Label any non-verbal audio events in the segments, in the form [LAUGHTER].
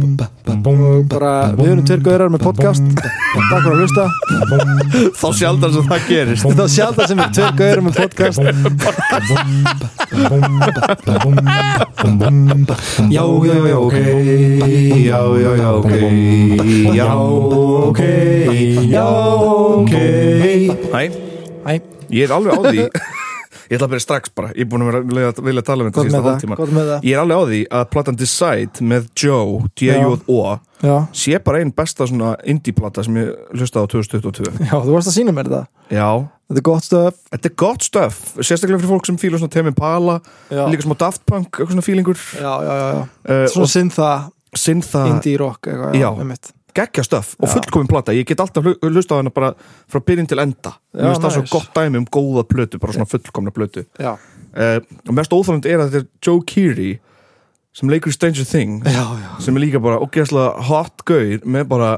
bara, við erum tveir gaurar með podcast takk fyrir að hlusta Þá sjaldan sem það gerist þetta er sjálf það sem við tveir gaurar með podcast Já, já, já, ok Já, já, já, ok Já, ok Já, ok Æ, Æ, ég er alveg á [LAUGHS] því Ég ætla að byrja strax bara Ég er búin að vera- vilja, vilja tala um þetta Gott með síðasta það, hálftíma. gott með það. Ég er alveg á því að platan Decide með Joe, D-A-U-O já, sé bara einn besta svona indie-plata sem ég hlustaði á 2022 já, þú varst að sína mér það Já, þetta er gott stöf Þetta er gott stöf, sérstaklega fyrir fólk sem fílar svona Temi Pala, já, líka smá Daft Punk, eitthvað svona fílingur já, já, já, já. uh, svona syntha, og syntha indie rock eitthvað, Eh, Ah. um já, Já. einmitt. geggja stöf og Já. fullkomin plata. Ég get alltaf hlusta á hana bara frá byrjun til enda. Já, Mér finnst það svo nice. gott dæmi um góða plötu, bara svona fullkomna plötu. já, Uh, og mest óþálend er að þetta er Joe Keery sem leikur í Stranger Things já, já, sem er líka bara ógeðslega hot gaur með bara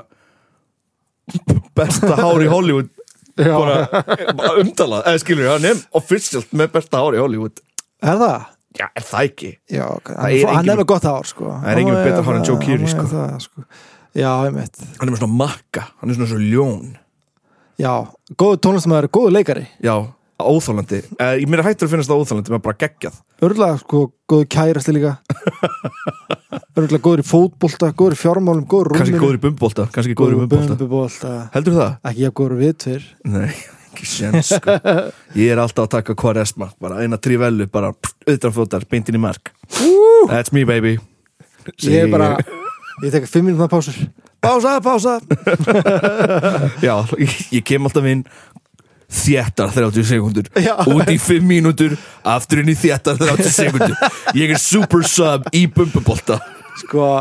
besta hár í Hollywood já. bara, bara umtalað, eða skilur hann er officialt með besta hár í Hollywood er það? Já, er það ekki? Já, ok. hann, Það er hann engin- er með gott hár sko. Það er engin Hann betra er- hár en Joe Keery, hann er sko. það, sko. Já, einmitt hann er með svona makka, hann er svona svona ljón Já, góðu tónlistamæður, góðu leikari já, óþálandi eh, ég mér er hættur að finnast það óþálandi, maður bara geggjað Örgulega, sko, góðu kærasti [LAUGHS] líka Örgulega góður í fótbolta góður í fjármálum, góður kannski góður í bumbólta, kannski góður í bumbólta bumbubólta heldur það? Ekki ég góður viðtver nei, ekki séns sko. ég er alltaf að taka kvaresma bara eina trivellu, bara auðranfótar beintin í mark that's me baby Ég Segi- er bara, ég [LAUGHS] tek fimm minútna pásur Pása, pása Já, ég, ég kem alltaf inn Þéttar 30 sekundur Já. Út í 5 mínútur Aftur inn í þéttar 30 sekundur Ég er super sub í bumbubolta Sko,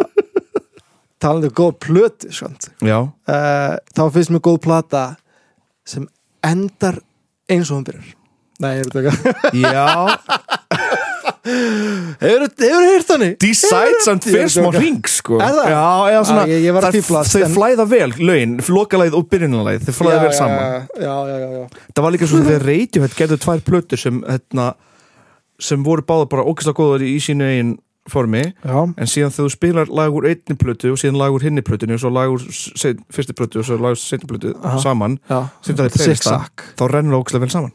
talandi um góð plöt skant. Já, uh, Þá finnst mér góð plata sem endar eins og hún byrjar Nei, ég er þetta ekki [LAUGHS] já Hefur hefur heyrt hann í? Decide samt Ég er fyrir að smá djóka. ring sko. Er það? Já, eða svona Ah, ég- ég var að það- fíflast, Þau en- flæða vel, lögin, lokalæð og byrjunarlæð Þau flæða vel saman Já, já, já, já. Það var líka svona þegar Radiohead gerðu tvær plötur sem, hérna, sem voru báða bara ókvæslega góðar í sínu eigin formi já. en síðan þegar þú spilar lag úr einni plötu og síðan lag úr hinni plötunni og svo lag úr se- fyrstu plötu og svo lag úr seinni plötu Aha. saman, já. Sýndu að þið Six playlista. Sack þá rennur það ógæslega vel saman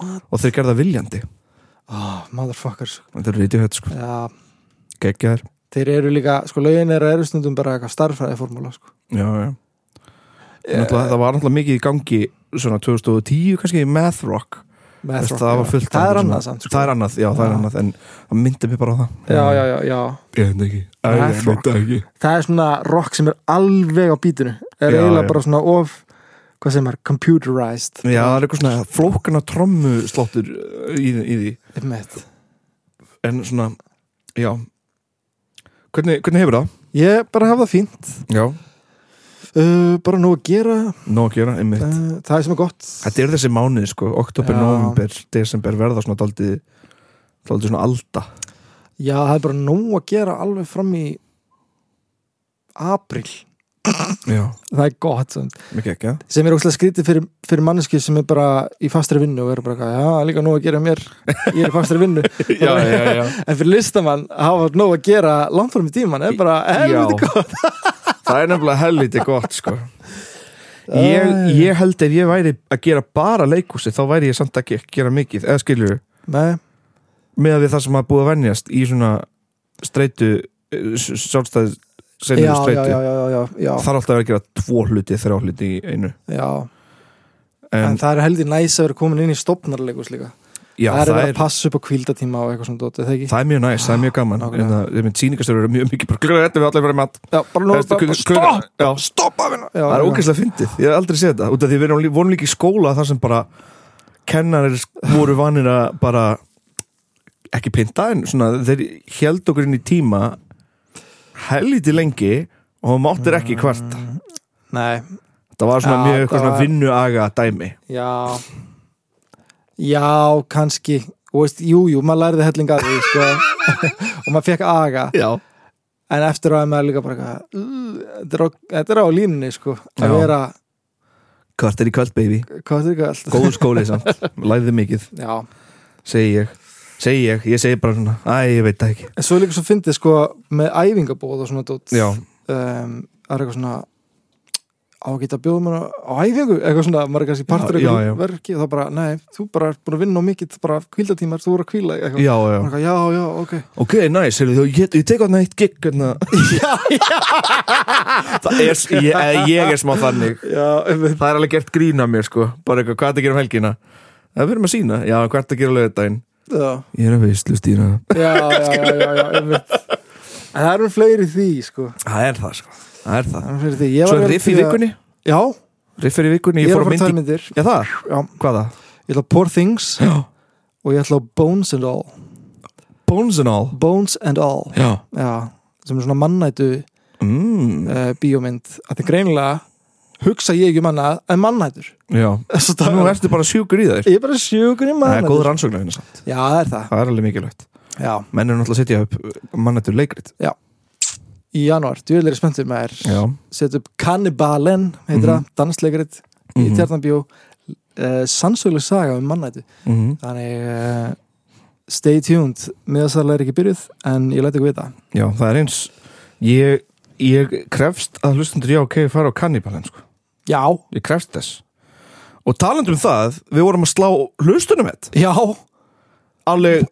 What? og þeir gerða viljandi oh, Motherfuckers þetta er rítið sko, já, geggja þér Þeir eru líka, sko lögin er eru stundum bara eitthvað starfræði formúla sko. já, já yeah. það var náttúrulega mikið í gangi svona 2010 kannski í math rock, Math Veist, rock, það var já. fullt af Það er svona- annað samt sko. það er annað, já, það er Já. annað en það myndi mér bara á það já, já, já, já. ég veit ekki, Æ, ég Math rock. veit ekki Það er svona rock sem er alveg á bítinu er Já, eiginlega já. bara svona of hvað sem er, computerized já, það er eitthvað svona flókana trommu slottur í, í því Einmitt. en svona, já hvernig, hvernig hefur það? Ég bara hef það fínt já, uh, bara nú að gera nóg að gera, einmitt uh, það er sem er gott Þetta eru þessi mánuði sko, oktober, Já. november, desember verða svona daldið daldið svona alda Já, það er bara nóg að gera alveg fram í april Já, það er gott svona. mikið ekki, ja? sem er óslega skrítið fyrir, fyrir manneski sem er bara í fastri vinnu og er bara eitthvað, já, það er líka nóg að gera hjá mér ég er í fastri vinnu [LAUGHS] Já, já, [LAUGHS] já en fyrir listamann að hafa nóg að gera langt fram í tíman er bara helviti gott gott [LAUGHS] Það er nefnilega helviti gott sko ég, ég held ef ég væri að gera bara leikhúsi þá væri ég samt ekki að gera mikið eða skilur, Nei, með að við það sem að búið að venjast í svona streitu eh, sjálfstæð, já, senniðu já, já, streitu já, já, já, Það er alltaf að vera að gera tvo hluti, þrjá hluti í einu já. En, En, það er heldur næs að vera komin inn í stopnarleikus líka já, það er verið að passa upp á kvíldatíma og eitthvað svona dótið, það ekki? Það er mjög næst, það er mjög gaman Nákvæmlega. en það er mjög sýningastöru, mjög mikið bara glöðu þetta við allir verið mat Já, bara nú Veistu, bara- hvernig- stopp! hvernig- Já, stopp að vinna Já, Það er já. ógeðslega fyndið, ég hef aldrei séð þetta út af því við erum lí- vorum líka í skóla þar sem bara kennarir voru vanir að bara ekki pinta en svona þeir held okkur inn í tíma helviti lengi og það máttir ekki kvarta Nei, það var Mm. svona Já, það mjög eitthvað svona var- vinnuaga dæmi Já Já, kannski Þú veist, Jú, jú, maður læriði helling að því sko. [LAUGHS] og maður fekk aga Já, en eftir á er maður líka bara eitthvað, "Ugh, þetta er á- þetta er á línunni sko, að Já. vera, kvart er í kvöld baby hvað þetta er ekki allt Góður skóli samt, læðið mikið, Já, segi ég segi ég, ég segi bara svona æ, ég veit það ekki En svo er líka svo fyndið sko með æfingabóð og svona dót já, um, Það er eitthvað svona á að geta að bjóða mér á æfingu eitthvað svona, maður er kannski partur Já, já, eitthvað já. verki og þá bara, nei, þú bara er búin að vinna á mikið, bara kvíldatímar, þú voru að kvíla eitthvað, já, já. Maður er eitthvað, já, já, ok ok, næs, nice, ég, ég, ég tek átna eitt gig hérna. það er, ég, eh, ég er smá þannig Já, einmitt. það er alveg gert grín að mér sko bara eitthvað, hvað er að gera um helgina það verðum að sína, já, hvað er að gera á lögudaginn já, ég er að veistlu stýra já, já, já, já, já einmitt. En það eru fleiri í því, sko það er það sko, það er það Það eru fleiri í því Ég var svo að er vera riff í til að- vikunni, Já, riff er í vikunni ég ég er fór að að fara að tala myndi, myndir já það Já, hvaða, ég ætla að Poor Things já, og ég ætla að Bones and All Bones and All Bones and All já, Já, sem er svona mannætu mm, uh, bíómynd að það greinilega hugsa ég ekki um manna en mannætur já [LAUGHS] Svo það- nú ertu bara sjúkur í þér Ég er bara sjúkur í það er góð mannætur rannsóknar hérna samt, Já, það er það það er alveg mikilvægt Já, menn er náttúrulega að setja upp mannættur leikrit í janúar, djúðlega spenntur með já, þér Set upp Cannibalen, heitir það, dansleikarit í Mhm. Tjarnabjó uh, Sannsöguleg saga um mannætu mhm, Þannig uh, stay tuned miðasarlega er ekki byrjuð en ég læti ykkur vita já, það er eins ég, ég krefst að hlustundur já, ok, fara á kannibalinn sko Já, Ég krefst þess Og talandi um það, við vorum að slá hlustunum hett já, Alveg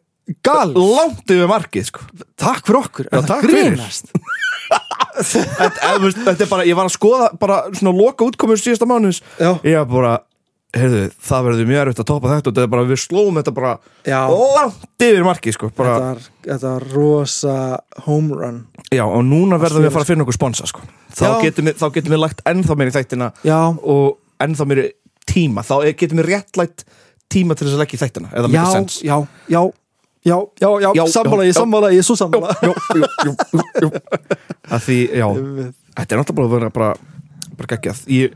gal langt yfir markið sko. Takk fyrir okkur, Já, er takk það fyrir. grínast þetta, eða, þú veist, þetta er bara, ég var að skoða bara svona loka útkomur síðasta mánuðis Já, Ég var bara, heyrðu, það verður mjög erfitt að toppa þetta og þetta er bara, við slóum þetta bara já langt yfir markið sko. bara, þetta, var, þetta var rosa home run Já, og núna verðum snerist. við að fara að finna okkur sponsa sko. þá, Já. getum við, þá getum við lagt ennþá meiri þættina Já, og ennþá meiri tíma þá getum við réttlægt tíma til þess að leggja í þættina eða já, mikið sens já, já Já, já, já, Já, sammála, já, ég sammála, ég er svo sammála Jú, jú, jú, jú, jú. Að því, já, [LAUGHS] Einmitt. þetta er náttúrulega búin að vera bara, bara geggjað ég,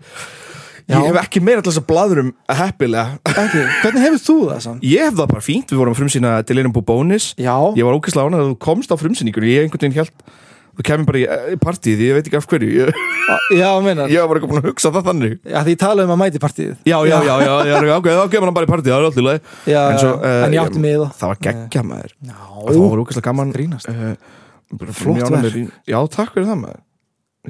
Já. ég hef ekki meira til þess að blaður um að heppilega Ekki, hvernig hefur þú það samt? ég hef það bara fínt, við vorum að frumsýna til einum bú bónis Já, ég var ókvæslega ánað að þú komst á frumsýningunni ég einhvern veginn held þú kemur bara í eh, partíð, ég veit ekki af hverju [LAUGHS] ég, á- já, meinar ég var bara eitthvað búin að hugsa það þannig Já, því ég tala um að mæti partíð já, já, já, já, já, já ok, þá kemur hann bara í partíð það er alltaf leið já En svo, eh, en ég átti mig í það það var geggja maður, Já, það var ókvæslega gaman grínast Eh, bara Flott mjög ánægður verk. í- Já, takk fyrir það maður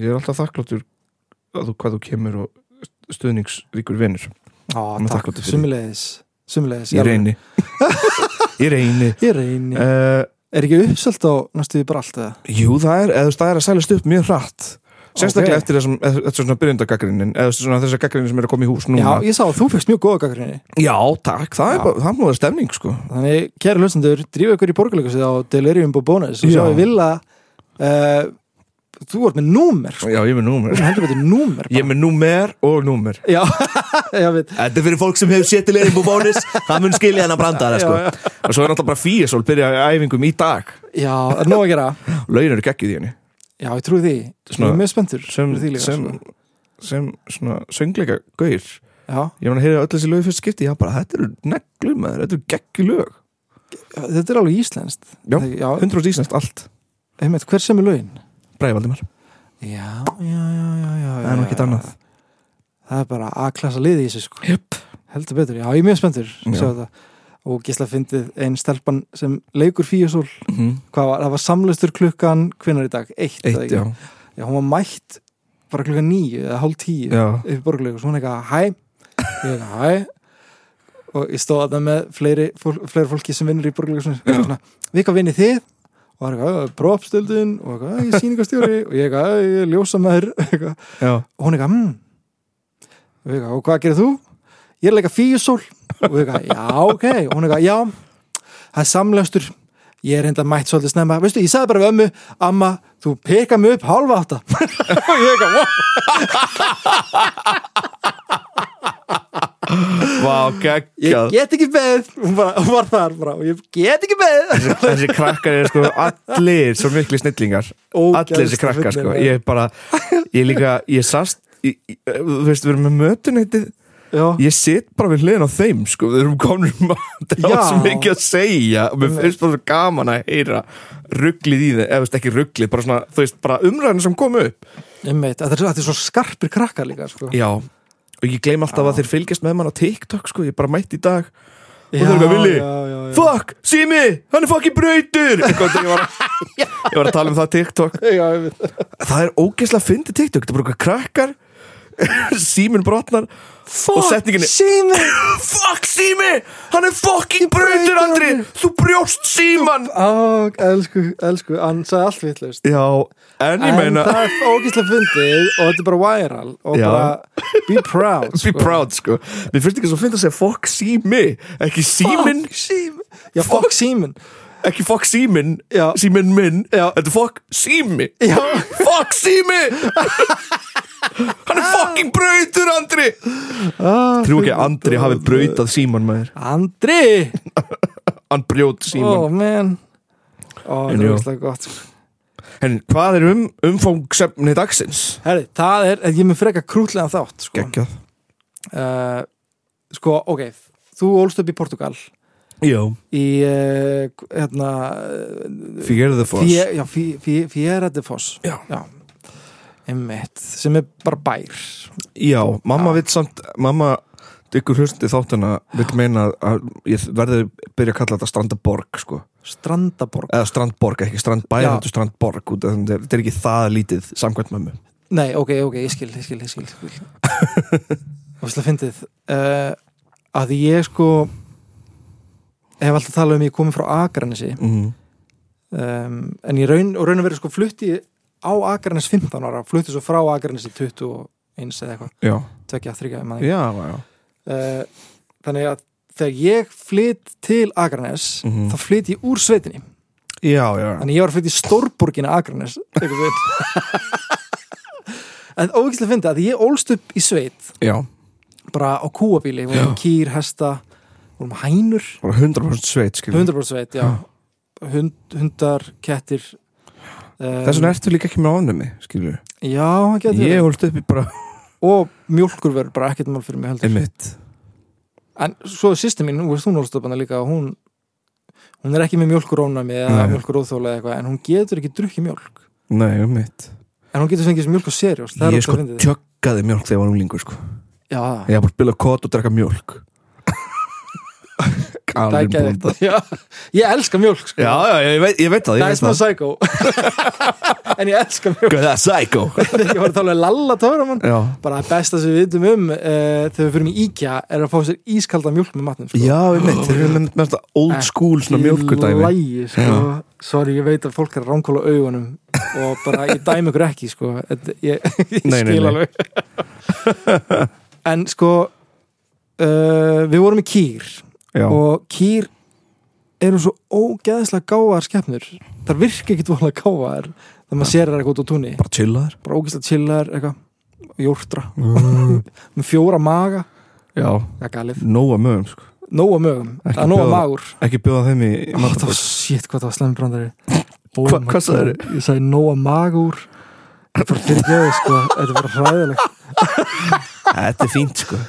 Ég er alltaf þakkláttur að þú, hvað þú kemur og stuðningsríkur vinnur Já, er takk, þakklátur fyrir. sumulegis Sumulegis, Ég [LAUGHS] reyni Ég reyni Ég reyni uh, Er ekki uppselt á næstuði bara allt eða? Jú, það er, eða þú veist, það er að sælast upp mjög hratt Sérstaklega Ok. eftir þessum, eh, eftir svona byrjendagagrinin eða svona þessar gagrinin sem er að koma í hús Já, núna ég sá að þú fegst mjög góða gaggrinni Já, takk, Já. það er bara, það múið stemning sko Þannig, kæri hlustendur, drífa ykkur í borgarleikusið á Delirium Bobonus og Já. sjá við vilja uh, Þú ert með númer, sko Já, ég er með númer Þú heldur betur númer Ég er með númer og númer Já, [LAUGHS] já, við Þetta er fyrir fólk sem hefur sétt til einn bú bónis Það mun skilja hennar brandara sko. Og svo er náttúrulega bara fíesól Byrja æfingum í dag Já, er nóg að gera Laun eru geggið í henni Já, ég trúi því Svona- Ég er mjög spenntur sem, fyrir því líka, sem, sko. sem svona söngleika gaur Já, ég var að heyra öll þessi lög í fyrst skipti já bara þetta eru neglum maður, þetta eru geggi lög þetta er alveg íslenskt Já, Þegar- já 100 íslenskt allt einmitt, hver sem er laun? Bræði Valdimar, Já, já, já, já, já það er nú já. ekkert annað Það er bara A-klassa liði í þessu, sko Jöp. Heldur betur, já, ég er mjög spenntur að Já. sjá þetta. Og gísla fyndið einn stelpan sem leikur fíjusól Mhm. hvað var, það var samlustur klukkan hvinnar í dag, eitt, eða Eitt, ekki? já, já, hún var mætt bara klukkan níu eða hálf tíu já. upp í borgarlegu, svo hún eitthvað hæ ég eitthvað hæ og ég stóð að það með fleiri, fólk, fleiri fólki sem vinnur í borgarlegu svona, við hvað vinnir þið og það er eitthvað, propstöldun og eitthvað, "Æ, ég er sýningastjóri og ég eitthvað, "Æ, ég er ljósamæður eitthvað. já. og hún eitthvað, mm. og, ég eitthvað, og hvað gerir þú? ég er leika fíusól og ég eitthvað, já, ok og hún eitthvað, já, það er samlöstur ég er enda mætt svolítið snemma veistu, ég sagði bara við ömmu, amma, þú peka mig upp hálfa átta og ég eitthvað, wow Vá, ég geggjað get ekki beð hún, bara, hún var þar bara og ég get ekki beð Þessi krakkar eru sko allir svo miklu snillingar Allir þessi krakkar sko Ég er bara, ég líka, ég sast ég, ég, Þú veist, við erum með mötunættið já, ég sit bara við hliðin á þeim sko, við erum komin um að [LAUGHS] það Já. er svo mikið að segja og mér finnst bara svo gaman að heyra rugglið í þeim, eða þú veist ekki rugglið bara svona, þú veist, bara umræðin sem kom upp ég meit, þetta er, þetta er svo skarpir krakkar líka sko. já, og ég gleym alltaf að þeir fylgjast með mann á TikTok sko, ég bara mætti í dag já, er eitthvað vilji. já, já, já, Fuck, sími, hann er fucking brautur Eitthvað, þegar ég, var að, [LAUGHS] [LAUGHS] ég var að tala um það TikTok já, ég veit það. Það er ógeðslega fyndið TikTok Þetta er bara eitthvað krakkar [LAUGHS] Símin brotnar Og setningin er Sími Fuck sími, hann er fucking brautur Andri Þú brjóst síman Á, elsku, elsku, hann sagði allt vitlaust Já, en ég En meina það er ógeðslega fyndið og þetta er bara viral og Já. bara be proud Be proud, sko Mér finnst ekki svo fyndið að segja fuck sími Ekki símin, Fuck símin Já, fuck símin ekki fuck símin Já. Símin minn Já. Þetta er fuck sími Já. Fuck [LAUGHS] sími Hann er fucking brautur Andri Ah, Trú ekki að Andri hafi brautað síman maður Andri Hann brjót síman Oh man Ó, það En er jú. ógeðslega gott sko. En hvað er um, umfangsefni dagsins? Herri, það er, ég er með freka krútlega þátt sko. Gekjað Uh, sko, ok Þú ólst upp í Portugal Já í, uh, hérna Figureðu fórs Fie- já, Fie- Fie- Fiera de Foss Já. Einmitt, sem er bara bær Já, Já. mamma vill samt Mamma, ykkur hlusti þáttuna Vill meina að ég verði Byrja að kalla þetta strandaborg sko Strandaborg Eða strandborg, ekki strandbær Já. Þetta er strandborg út af því að Þetta er ekki það lítið samkvæmt mömmu Nei, ok, ok, ég skil, ég skil, ég skil, ég skil. Visslega fyndið uh, að því ég sko hef alltaf talað um ég komið frá Akranesi mm. um, en ég raun, og raun að vera sko flutti á Akranes 15 ára flutti svo frá Akranesi 21 eða eitthvað, Já, tvekja, þryggja yeah. já, já uh, þannig að þegar ég flytt til Akranes Mhm. þá flytt ég úr sveitinni Já, já, Þannig ég var fætt í stórborgina Akranes einhvern veginn. [LAUGHS] En ógæslega fyndi að ég ólst upp í sveit já bara á kúabíli, við vorum Já. kýr, hesta vorum hænur, bara 100% sveit skilur. 100% sveit já. Hund, hundar, kettir um, Þess vegna ertu líka ekki með ofnumi skilur. Já, það getur Ég verið. holdt upp í bara og mjólkur verður bara ekkert mál fyrir mig heldur einmitt En svo sýsti mín, hún, hún ólst upp hana líka og hún, hún er ekki með mjólkur ónami eða Nei. mjólkur óþóla eða eitthvað en hún getur ekki drukkið mjólk Nei, einmitt en hún getur fengið sem mjólk á seriós það er Ég ógeðslega sko fyndið. tjöggaði mjölk þegar ég var úlingur sko. Já, Ég var bara að spila kót og drekka [LAUGHS] mjölk það er Alveg geðveikt. blóta. Já, ég elska mjólk sko. Já, já, ég veit, ég veit það, það ég er veit smá það. psycho [LAUGHS] en ég elska [LAUGHS] mjólk Gauð, Það er psycho ég var að tala um Lalla Töramann Já, bara að besta sem við vitum um uh, þegar við fyrir í IKEA er að fá sér ískalda mjólk með matnum sko. já einmitt, þeir eru með með þetta Eh, old school svona Í mjölkudæmi lagi, sko. sorry, ég veit að fólk er að ránkóla augunum og bara ég dæmi ykkur ekki sko. Þetta- ég, ég Nei, nei, skil nei. alveg [LAUGHS] en sko uh, við vorum í kýr Já, og kýr eru svo ógeðslega gáðar skepnur þar virka ekki dvolega gáðar þegar maður sér þær eitthvað út á túnni bara chillaður bara ógeðslega chillar eitthvað og jórtra [LAUGHS] með fjóra maga Já, það galið nóga mögum sko. nóa mögum Ekki það er nóa bjóða- magur Ekki bjóða þeim [LAUGHS] í Ó, það var shit hvað það var slemmi brandari oh Hva- my [LAUGHS] hvað sagðirðu? God. ég sagði nóa magur Ég bara fyrir geðu sko þetta var hræðilegt Þetta er fínt sko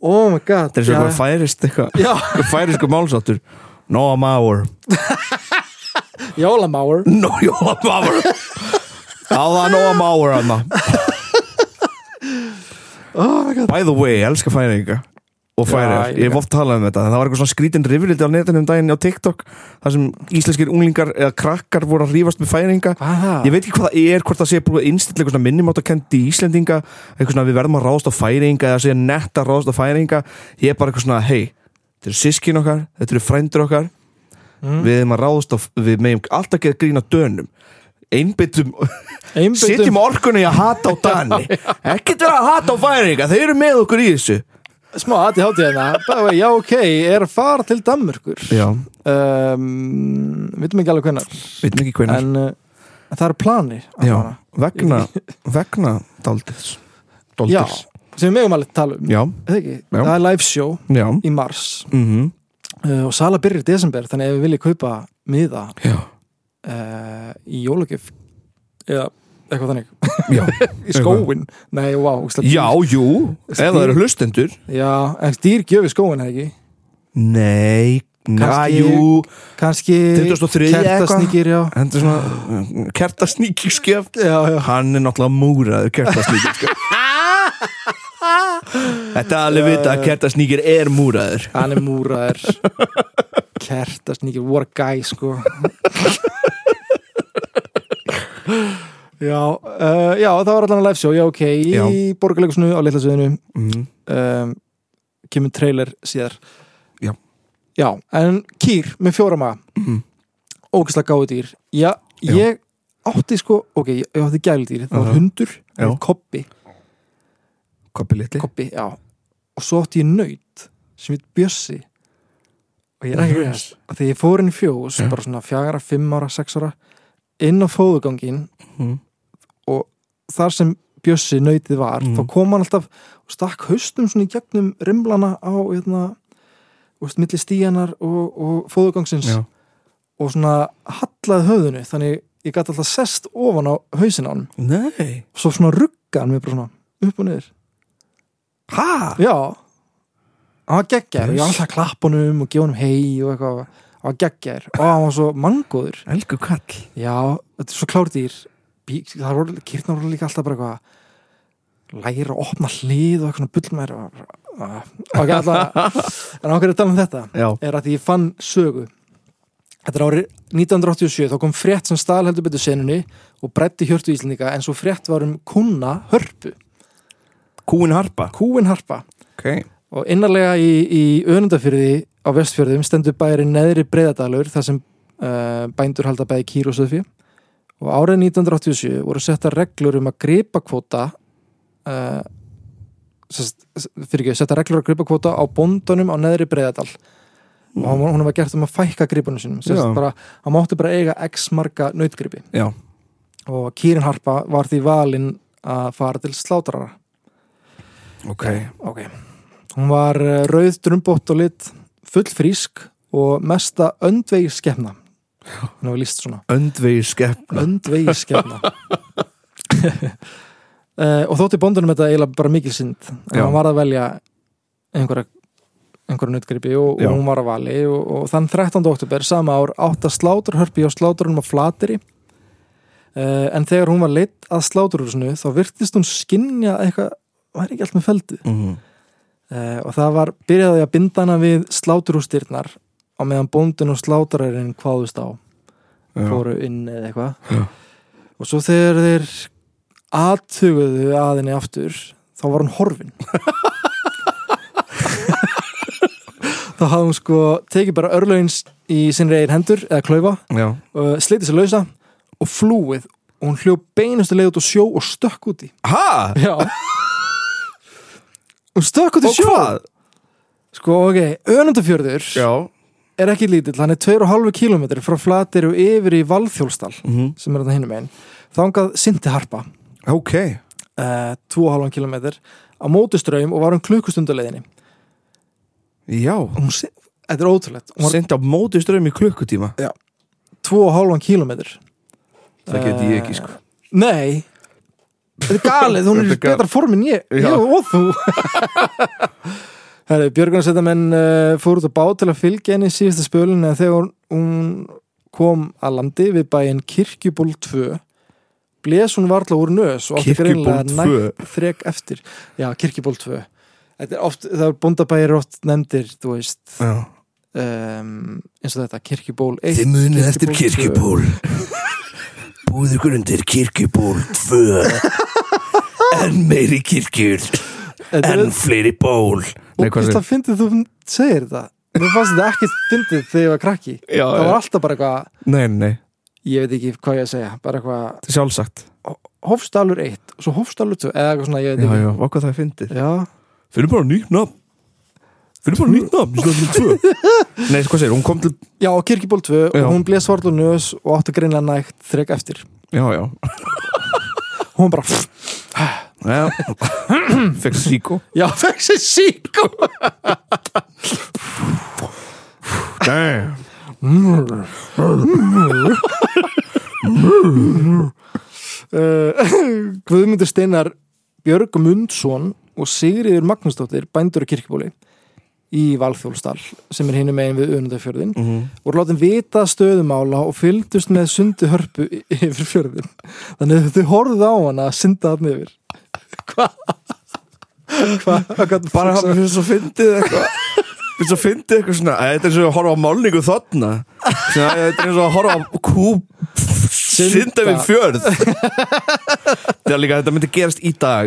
oh my god Þetta er svo já. eitthvað færist eitthvað já, Hvað færi sko málsáttur? Nóa máur jólamáur [LAUGHS] Nóa máur Já það er nóa máur Anna oh my god By the way, ég elska færinga Og Já, færir, ég ég hef líka. oft talað um þetta En það var eitthvað svona skrítin rifrildi á netinu um daginn á TikTok þar sem íslenskir unglingar eða krakkar voru að rífast með færinga hvað er það? Ég veit ekki hvað það er, hvort það sé búið innstill eitthvað svona minnimáttakendi í Íslendinga eitthvað svona við verðum að ráðast á færinga eða segja netta að ráðast á færinga Ég er bara eitthvað svona, hei, þetta eru sískin okkar þetta eru frændur okkar Mm. við erum að ráðast á, við meðum alltaf gera grína dönum einbyttum, Einbeitum- sitjum orkunni að [LAUGHS] hata á Dani ekkert vera að hata á færinga þeir eru með okkur í þessu smá aðið hátíð hérna já ok, ég er að fara til Danmörkur já, um, vitum ekki alveg hvernar veitum ekki hvernig en uh, það eru planir að já, fara. vegna, vegna daldils já, daldils, sem við megum alveg tala um já, Er það ekki? Já. það er live show já, í mars uh, mhm, og sala byrjar í desember þannig ef við viljum kaupa miða já, uh, í jólagjöf eða eitthvað [LAUGHS] þannig já í skóin, nei, vá ógeðslega dýr. já, jú, eða það eru hlustendur já, en dýr gjöfi skóin, eða ekki nei, næ, Kannski- jú kannski 23 eitthvað. kertasnýkir, já þetta er svona kertasníkjöf já, já Hann er náttúrulega múraður kertasníkir [LAUGHS] sko. Þetta er alveg vita að kertasníkir er múraður hann er múraður kertast nýkir voru gæ sko já, uh, já það var allan að live show, já ok í Já. borgarleikusinu á litla sviðinu mm. um, kemur trailer síðar Já. Já, en kýr með fjórama Mhm. ógæslega gáði dýr já, Já. ég átti sko ok, ég ég átti gæludýr, það var Aha. hundur Já. og koppi, Koppi litli koppi, já og svo átti ég nöyt sem heit Bjössi og ég er ekki veist að þegar ég fór inn í fjós Já. bara svona fjara, fimm ára, sex ára inn á fóðugangin Mhm. og þar sem Bjössi nöytið var Mhm. þá kom hann alltaf og stakk haustum svona í gegnum rimlana á hérna, þú veist, milli stíjanar og, og fóðugangsins Já. og svona hallaði höfðinu þannig ég gæti alltaf sest ofan á hausin á hann Nei og svo svona rugga hann mig bara svona upp og niður Ha? já hann var geggjær og ég Yes. var alltaf að klappa honum og gefa honum hei og eitthvað hann var geggjær og hann var svo mangóður Elgu kall já, þetta er svo klárdýr það voru, kýrnar voru líka alltaf bara eitthvað læra að opna hlið og eitthvað svona bull mér og Ah, ok, alltaf en okkur er að tala um þetta Já er að ég fann sögu Þetta er árið 1987 þá kom frétt sem stal heldur betur senunni og breytti hjörtu íslendinga en svo frétt var um kunna hörpu Kúin harpa kúin harpa Ok og innarlega í, í önundafyrði á vestfjörðum stendur bærin neðri breyðadalur þar sem uh, bændur halda bæði kýr og söðfjö og árið 1987 voru settar reglur um að gripa kvóta uh, fyrir ekki, settar reglur um að gripa kvóta á bóndunum á neðri breyðadal og hún, hún var gert um að fækka gripunum sínum Sest, Já. bara, hann mátti bara eiga x marga nautgripi Já og kýrin harpa var því valin að fara til slátrara Ok Ok. Hún var eh, rauð, drumbótt og lit, full frísk og mesta öndvegi skefna. Hún hefur líst svona. Öndvegi skeppna Öndvegi [LAUGHS] skefna. Eh, og þótti bóndunum þetta eiginlega bara mikil synd. En Já. hann var að velja einhverja einhverja nautgripi og, Já. og hún var að vali og, og þann 13. oktober sama ár átt að sláturhörpi á sláturunum á flateri uh, en þegar hún var leitt að sláturhúsinu þá virtist hún skinja eitthvað, var ekki allt með feldu mm. Uh, og það var byrjaði að binda hana við sláturhústyrnar á meðan bóndin og sláturarinn kváðust á fóru inn eða eitthvað Já. og svo þegar þeir aðtuguðu að henni aftur þá var hann [LAUGHS] horfin þá hafði hún sko tekið bara örlögin s- í sinni eigin hendur eða klaufa, Já uh, slitið sér lausa og flúið og hún hljóð beinustu leið út á sjó og stökk úti Ha? já hún stökk út í Og sjó hvað? Sko, ok, önundafjörður Já er ekki lítill, hann er 2,5 km frá flatir og yfir í Valþjólstal Mhm. sem er þetta hinum einn. Þangað Sinti Harpa, Ok uh, 2,5 km á mótustraum og var um klukkustunduleginni. Já Hún, si- þetta er ótrúlegt, hún var Sint á móti strömm í klukkutíma 2,5 km. Það geti ég ekki sko Eh, Nei, þetta er galið, hún er í Þetta er galið. betra form en ég, Já. ég og þú. Herri, Björgunarsveitamenn uh, fór út á bát til að fylgja henni í síðasta spölun en þegar hún- hún kom að landi við bæinn Kirkjuból 2 bles hún varla úr nös og átti Kirkjuból greinilega 2. nægt þrek eftir já, Kirkjuból 2 Þetta er oft, það er bóndabæir oft nefndir þú veist Já um, eins og þetta, Kirkjuból 1 Þið munið eftir 2. kirkjuból Búður ykkur undir kirkjuból 2 En meiri kirkjur Þetta er- En fleiri ból Nei, og hvað hvist það fyndið þú segir þetta mér fannst þetta ekkert fyndið þegar ég var krakki Já, það var já. alltaf bara eitthvað Nei, nei ég veit ekki hvað ég að segja bara eitthvað Sjálfsagt Hofsdalur 1 og svo Hofsdalur 2 eða eitthvað svona ég veit Já, ekki já, og hvað það er fyndið já. Finnum bara nýtt nafn Finnum bara nýtt nafn, Íslandin 2 Nei, hvað segir, hún kom til já og Kirkiból 2 Já. og hún blés svart og nös og átti greinlega nægt þrek eftir Já, já, hún bara pff, já. Fekk síkó já [LAUGHS] fekk sér sík Damn uh, [LAUGHS] Guðmundur Steinar Björg Mundsson og Sigriður Magnúsdóttir bændur á kirkibóli í Valþjólstal sem er hinum megin við önundafjörðin mm -hmm. og látum vita stöðumála og fylgdust með sundu hörpu y- [LAUGHS] yfir fjörðin þannig að þau horfðu á hana að synda hann yfir [LAUGHS] Hva? Hva? Hvað? Bara hann fyrir svo fyndið eitthvað finnst að fyndi eitthvað svona Æ, Þetta er eins og að horfa á málningu þarna Svona, æ, Þetta er eins og að horfa á kú Synda við fjörð Þetta er líka, þetta myndi gerast í dag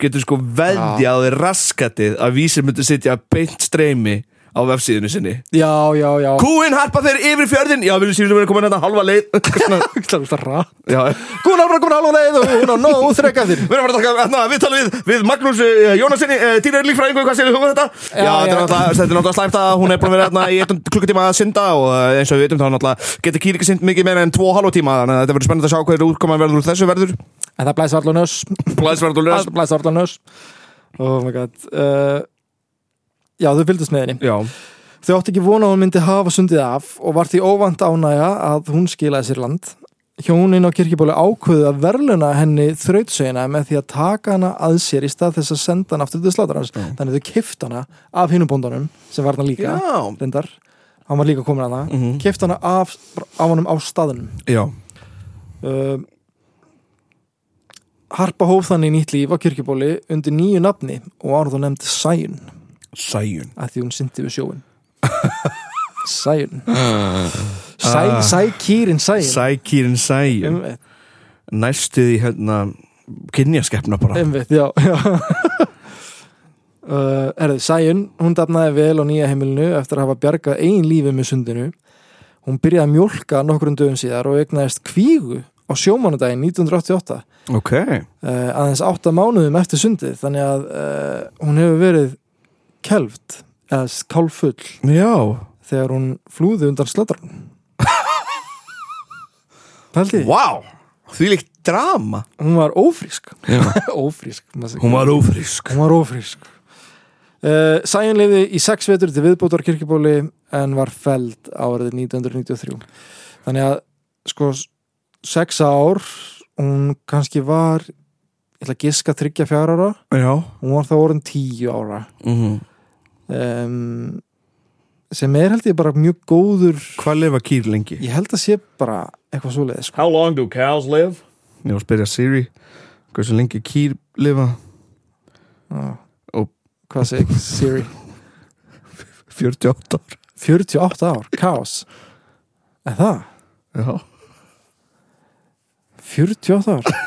Getur sko veðjaði raskatið Að vísir myndi sitja beint streymi Á vefsíðinu sinni já, já, já [LAUGHS] Kúin harpa þeir yfir fjörðin Já, viljum síðan vera komin hérna halva leið [LAUGHS] Kúna Svona, Já, bara komin alveg leið og hún á nóg þrekka þér Við erum að fara að taka hérna, viðtali við, við Magnús uh, Jónasinni, uh, Týra er líkfræðingu, hvað segir þú um þetta? já. Já, þetta er náttúrulega, þetta er náttúrulega slæmt að hún er búin að vera hérna, í eitt klukkutíma að synda og uh, eins og við vitum þá náttúrulega getur kýr ekki synd mikið meira en tvo og halva tíma þannig að þetta verður spennandi að sjá hvað er útkoman verður úr þessu verður. En það blæst varla á nös Blæsverður og Það blæst varla á nös Oh my god uh, Já, þau fylgdust með henni Já, Þau átti ekki vona að hún myndi hafa sundið af og var því óvand ánægja að hún skilaði sér land. Hjónin á kirkjubóli ákvöðu að verðluna henni þrautsegina með því að taka hana að sér í stað þess að senda hana aftur til slátarans. Þannig þau kift hana af hinum bóndanum sem var hana líka, Já. reyndar. Hann var líka komin að það. Mm Kift hana af, af honum á staðunum. já, Uh, harpa hóf þannig nýtt líf á kirkjubóli undir nýju nafni og var þú nefnd Sæjun sæjun. að því hún syndi við sjóin Sæjun Sæ, Sækýrin Sæjun Sækýrin sæjun, Einmitt, næstuð í hérna kynjaskeppna bara. einmitt, já, já. [LAUGHS] Uh, Erðu, Sæjun, hún dafnaði vel á nýja heimilinu eftir að hafa bjargað ein lífi með sundinu Hún byrjaði að mjólka nokkrum dögum síðar og egnaðist kvígu á sjómanudaginn 1988 Ok, uh, aðeins átta mánuðum eftir sundið þannig að uh, hún hefur verið kelft eða kálfull já, þegar hún flúði undan slatran [LAUGHS] Paldi, wow, því líkt drama. hún var ófrísk Já. [LAUGHS] Ófrísk maður- Hún var ófrísk. Hún var ófrísk uh, Sæjun liði í sex vetur til viðbótar kirkjubóli en var feld árið 1993 Þannig að sko s- sex ár hún kannski var ég ætla að giska þryggja fjár ára Já, hún var þá orðin tíu ára mhm. um, sem er held ég bara mjög góður Hvað lifa kýr lengi? ég held að sé bara eitthvað svoleiðis sko. How long do cows live? Ég var að spyrja Siri hversu lengi kýr lifa Já. Og- hvað segir Siri 48 ár 48 ár, kaos er það? Já, 48 ár? [LAUGHS]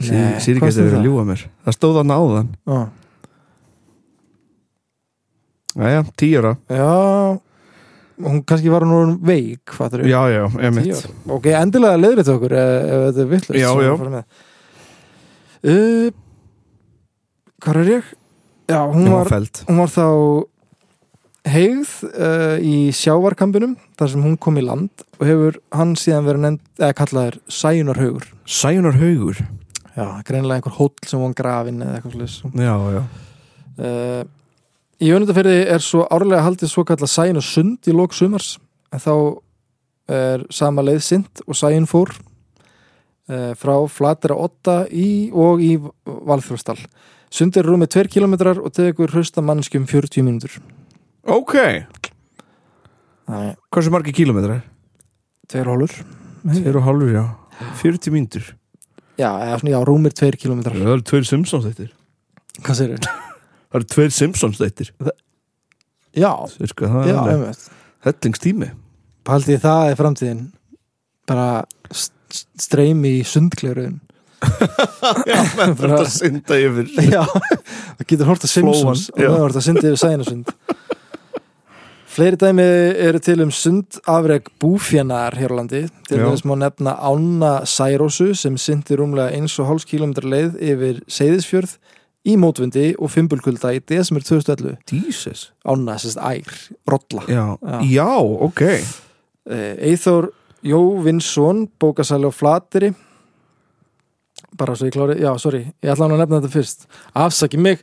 Siri, Siri hvað getur verið stendur að ljúga mér Það stóð hann áðan það? Jæja, 10 ára Já. já hún kannski var hún orðin veik fattur Já, já, ég Tíu mitt ár. ok, endilega leiðrið okkur ef, ef þetta er vittlust Já, já. uh, hvað er ég? já, hún Hún var var, fælt hún var þá heigð uh, í sjávarkampinum þar sem hún kom í land og hefur hann síðan verið nefnd, eða kallaður Sæjunarhaugur Sæjunar haugur já, greinilega einhver hóll sem hún grafin eða eitthvað slags Já, já uh, í önundaferði er svo árlega haldið svo kallað Sæjun og Sund í lok sumars en þá er sama leið sint og Sæjun fór uh, frá Flatera 8 í og í Valþjóðstal Sund er rúmið 2 kilometrar og tegur hrausta mannskjum 40 um mínútur Ok, Nei, hversu margi kílómetrar? tveir hólur 2 og halvur, já 40 mínútur Já, eða svona, já, rúmir tveir kilometrar Það eru tveir Simpsons þettir Hvað segir þau? Það eru tveir Simpsons þettir Já, já, Hellingstími umveit Paldi það er framtíðin bara st- st- streymi í sundglerun [LAUGHS] Já, menn Bara- þetta synda yfir [LAUGHS] Já, það getur hort að Simpsons Flóan, já. og það hort að syndi yfir sæðinasund Fleiri dæmi eru til um sundafreg búfjanar hér á landi til Já. þess má nefna Ána Særósu sem syndi rúmlega 1,5 km leið yfir Seyðisfjörð í mótvundi og fimbulkulda í desember 2011 Jesus Ána, sérst ær, rolla Eh, Já, Já. já, ok Eithór Jóvinsson bókasæli á Flateri bara svo ég klári já, sorry, ég ætla hann að nefna þetta fyrst afsaki mig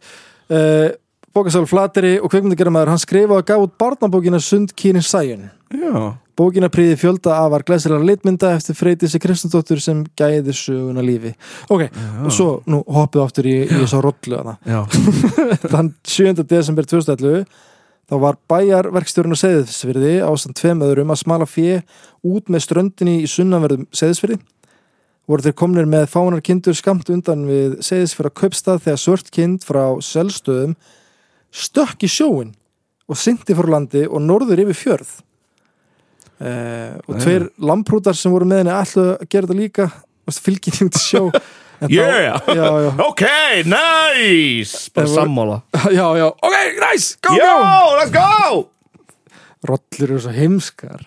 uh, bókasæli á Flateri og kveikmyndagerðamaður hann skrifa og gaf út barnabókina Sund Kýrin Sæjun Já, Bókina príði fjölda afar glæsilega litmynda eftir Freytísi Kristendóttur sem gæði söguna lífi. Ok, og svo nú hoppið aftur í, í svo rollu hana. já Þann 7. desember 2011 þá var bæjarverkstjórun og seðisfyrði ástand tveim öðrum að smala fjö út með ströndinni í sunnanverðum seðisfyrði voru þeir komnir með fánar kindur skamt undan við seðisfyrra kaupstað þegar svört kind frá selstöðum stökk í sjóin og synti frá landi og norður yfir fjörð uh, og tveir lamprútar sem voru með henni allu að gera þetta líka og fylgir henni til [LAUGHS] sjó En þá- Yeah. já, já, [LAUGHS] Ok, nice Bara Það voru- sammála [LAUGHS] já, já, ok, nice, go, Yo, go let's go Rollur eru svo heimskar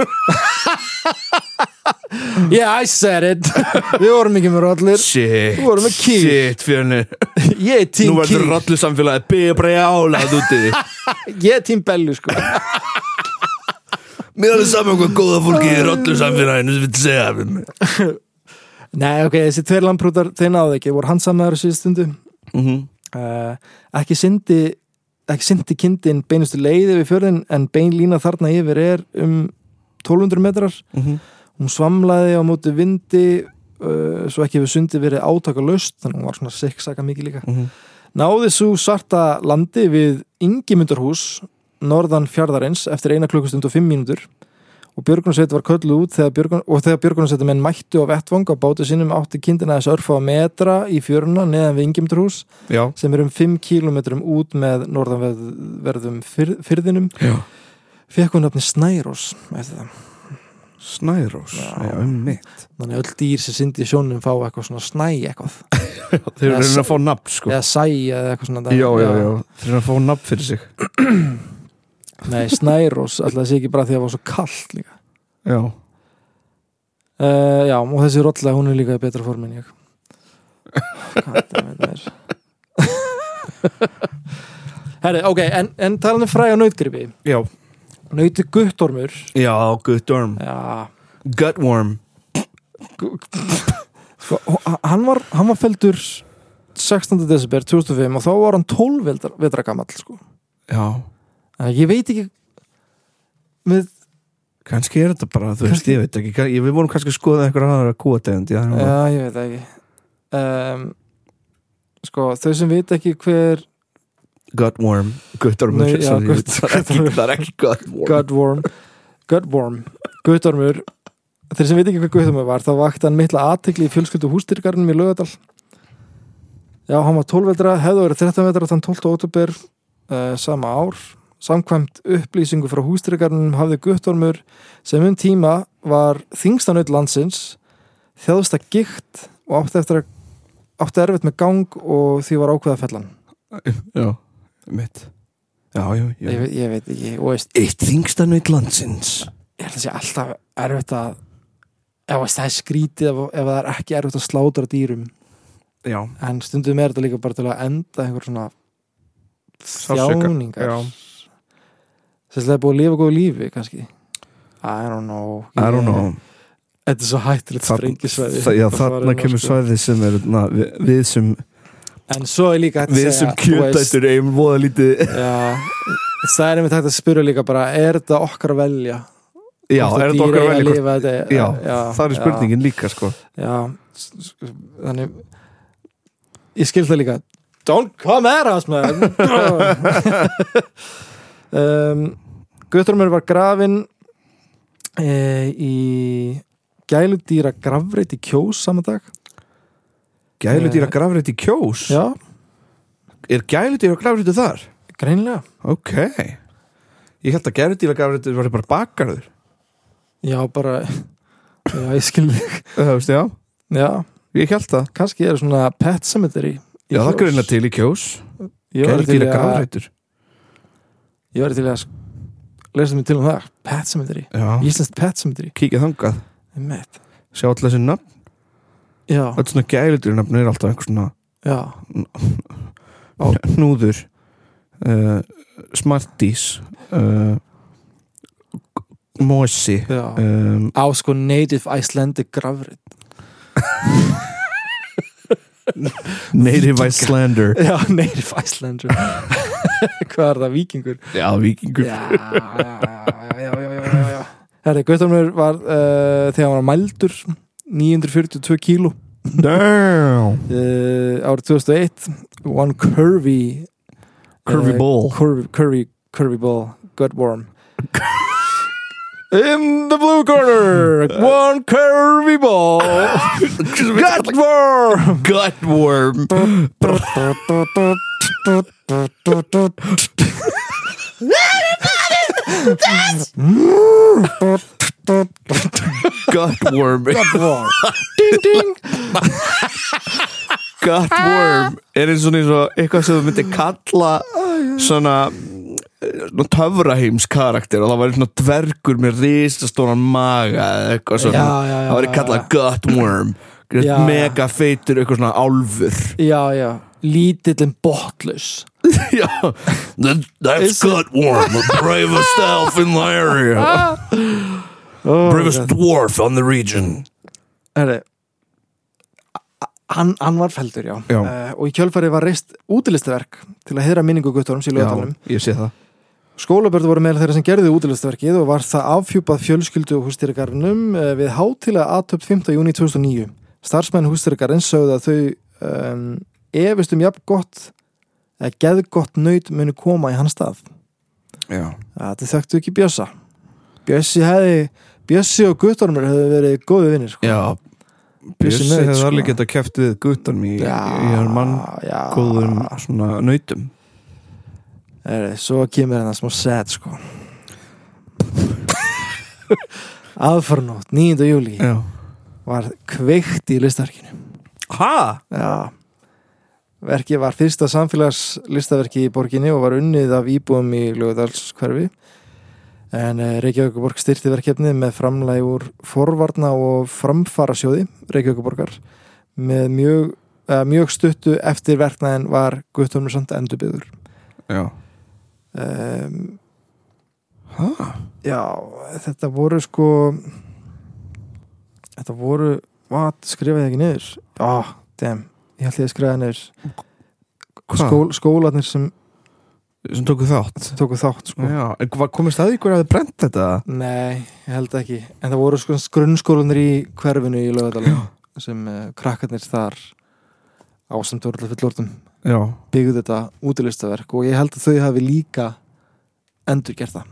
[LAUGHS] Yeah, I said it [LAUGHS] Við vorum ekki með rollur Shit, Þú voru með kýr. shit, fjörnir Ég er Nú tím kýr, verður rollu samfélagið bregjálaðið út í því ég er tím bellu sko Mér er alveg saman hvað góða fólki í rollu samfélaginu sem vil segja við mig Nei, ok, þessi tveir lamprútar, þeir náðu ekki voru handsamaður síðan stundu uh, ekki syndi ekki syndi kindin beinustu leið yfir fjörðin en beinlína þarna yfir er um 1200 metrar hún svamlaði á móti vindi uh, svo ekki hefur sundi verið átakalaust þannig að hún var svona siksaka mikið líka náði svo svarta landi við Ingimundurhús norðan fjardarins eftir eina klukkustund og fimm mínútur og björgunarsveit var kölluð út þegar björgun, og þegar björgunarsveitamenn mættu á vettvang á bátu sínum átti kindina þess örfa metra í fjöruna neðan við Ingimundurhús Já, sem er um 5 km út með norðanverðum fyrð- fyrðinum já fekk hún nafni Snærós eftir það. Snærós, Já. um mitt Þannig að öll dýr sem syndi í sjónum fá eitthvað svona snæ eitthvað Sko. Þeir eru reyna að fá nafn sko eða sæ eða eitthvað svona dæmi. Já, já, já, þeir eru að fá nafn fyrir sig Nei, Snærós, alltaf þessi ekki bara því að það var svo kallt líka Já, uh, Já, og þessi rolla, hún er líka í betra form en ég Hvað þetta með mér [LAUGHS] Herri, ok, en, en talandi fræ á nautgripi já, Nauti guttormur já, good worm Já, Gut worm Sko, h- hann var, hann var feldur 16. desember 2005 og þá var hann 12 vetra, vetra gamall sko. Já, Þannig að ég veit ekki með, kannski er þetta bara, þú veist, ég veit ekki kann- ég, Við vorum kannski að skoða einhver aðra kúategund Já, já, ég veit það ekki um, sko, þau sem veit ekki hver gut worm Gut worm, Nei, já, sorry, gut- það er [LAUGHS] ekki, það er ekki gut worm Godworm Godworm, Guttormur þeir sem veit ekki hver Guttormur var þá vakti hann mittla aðtekli í fjölskyldu hústyrkarnum í lögadal já, hann var 12 vetra, hefðu verið 13 vetra þann 12. óttúber uh, sama ár samkvæmt upplýsingu frá hústyrkarnum hafði Guttormur sem um tíma var þingstanaut landsins þjáðist að gikt og átti eftir að átti erfitt með gang og því var ákveða fellan Já, mitt Já, já, já ég, veit- ég veit ekki, og veist Eitt þingstanaut landsins ég held að sé alltaf erfitt að ef veist, það er skrítið ef, ef það er ekki erfitt að slátra dýrum Já, en stundum er þetta líka bara til að enda einhver svona Sársauka, þjáningar já. sérslega búið að lifa góðu lífi kannski I don't know I don't know Þetta er svo hættilegt sprengisvæði um það, já, þarna kemur svæði sem er na, við, við sem, En svo er líka hægt að við sem kjötættur eigum voða lítið Já Það er einmitt hægt að spyrja líka bara Er þetta okkar að velja? já, Hvort er að þetta dýr okkar eiga að vel lifa þetta- já, já, það er já. spurningin líka sko Já, s- s- þannig ég skil það líka Don't come at us man [LAUGHS] um, Guttormur var grafin e, í gæludýra grafreit í kjós saman dag gæludýra grafrétt í kjós Já, er gæludýra grafréttu þar? greinilega ok ég held að gæludýra grafréttu var bara bakarður Já, bara Já, ég skil þig það Eh, veist, já, Já, ég held það kannski er svona pet cemetery í já, það Kjós. er greinlega til í kjós Ég væri til í gæludýra að- grafréttur Ég var til í að sk- lesa mér til um það Pet cemetery, já, Íslands pet cemetery kíkja þangað Einmitt. sjá alltaf þessi nafn Já, öll svona gæludýra nafn er alltaf einhver svona já Ó. Núður uh, Smarties uh, Mosi Já. um, á sko native Icelandic grafrit Native Icelander [LAUGHS] já, native [LAUGHS] Icelander hvað er það, vikingur Já, vikingur já, já, já, já, já, já, já, já. herri, Gautamur var uh, þegar hann var mældur 942 kíló Damn uh, árið 2001 one curvy uh, Curvy ball. curvy, curvy, curvy ball good worm in the blue [LAUGHS] corner one curvy ball [LAUGHS] good worm Gutworm Herri, Gutworm War Ding ding Gutworm er eins og eins og eitthvað sem þú myndir kalla svona eh, töfraheims karakter og það væri svona dvergur með risastóran maga eða eitthvað svona Já, já, já, það væri já, kallað já. Gutworm Greit, Já, já. mega feitur eitthvað svona álfur Já, já, lítillin botlaus [LAUGHS] já, that, that's Is it- Gutworm the [LAUGHS] bravest elf in the area bravest dwarf on the region Herri Hann, hann var feldur, já, Já. Eh, og í kjölfarið var reist útilistaverk til að heyra minningu guttunum sér lögatalum ég sé það Skólabörðu voru meðal þeirra sem gerði útilistverkið og var það afhjúpað fjölskyldu og hústýrigarnum við hátilega aðtöpt 5. júni 2009. Starfsmenn hústýrigarins sögðu að þau um, efist um jafn gott eða geðgott nöyt muni koma í hans stað. já. Að þau þekktu ekki Bjössa. Bjössi hefði, Bjössi og Guttormur hefðu verið góði vinnir. Sko. Já Bjössi Bjössi naut, hefði sko. alveg getað kæft við guttan í, í hann mann já. góðum svona nautum Eri, svo kemur hennar smá set sko. Aðfarnótt, 9. júli Já var kveikt í listarkinu. Ha? Já. Verkið var fyrsta samfélagslistaverki í borginni og var unnið af íbúum í Lugudalskverfi. En eh, Reykjavíkuborg styrti verkefni með framlæg úr forvarna og framfarasjóði Reykjavíkuborgar með mjög, uh, mjög stuttu eftir verknaðin var Guttormur samt endurbyður. Já Um, Ha? já, þetta voru sko þetta voru hvað, skrifaði ég ekki niður? Já, ah, damn, ég held ég að skrifaði niður Skól, Skól skólanir sem sem tóku þátt tóku þátt sko. Já, en hvað komist að ykkur að þið brent þetta? Nei, ég held ekki En það voru sko grunnskólanir í hverfinu í lögadalum sem uh, krakkarnir þar ásamt voru alltaf fullortum Já byggðu þetta útilistaverk og ég held að þau hafi líka endurgert það,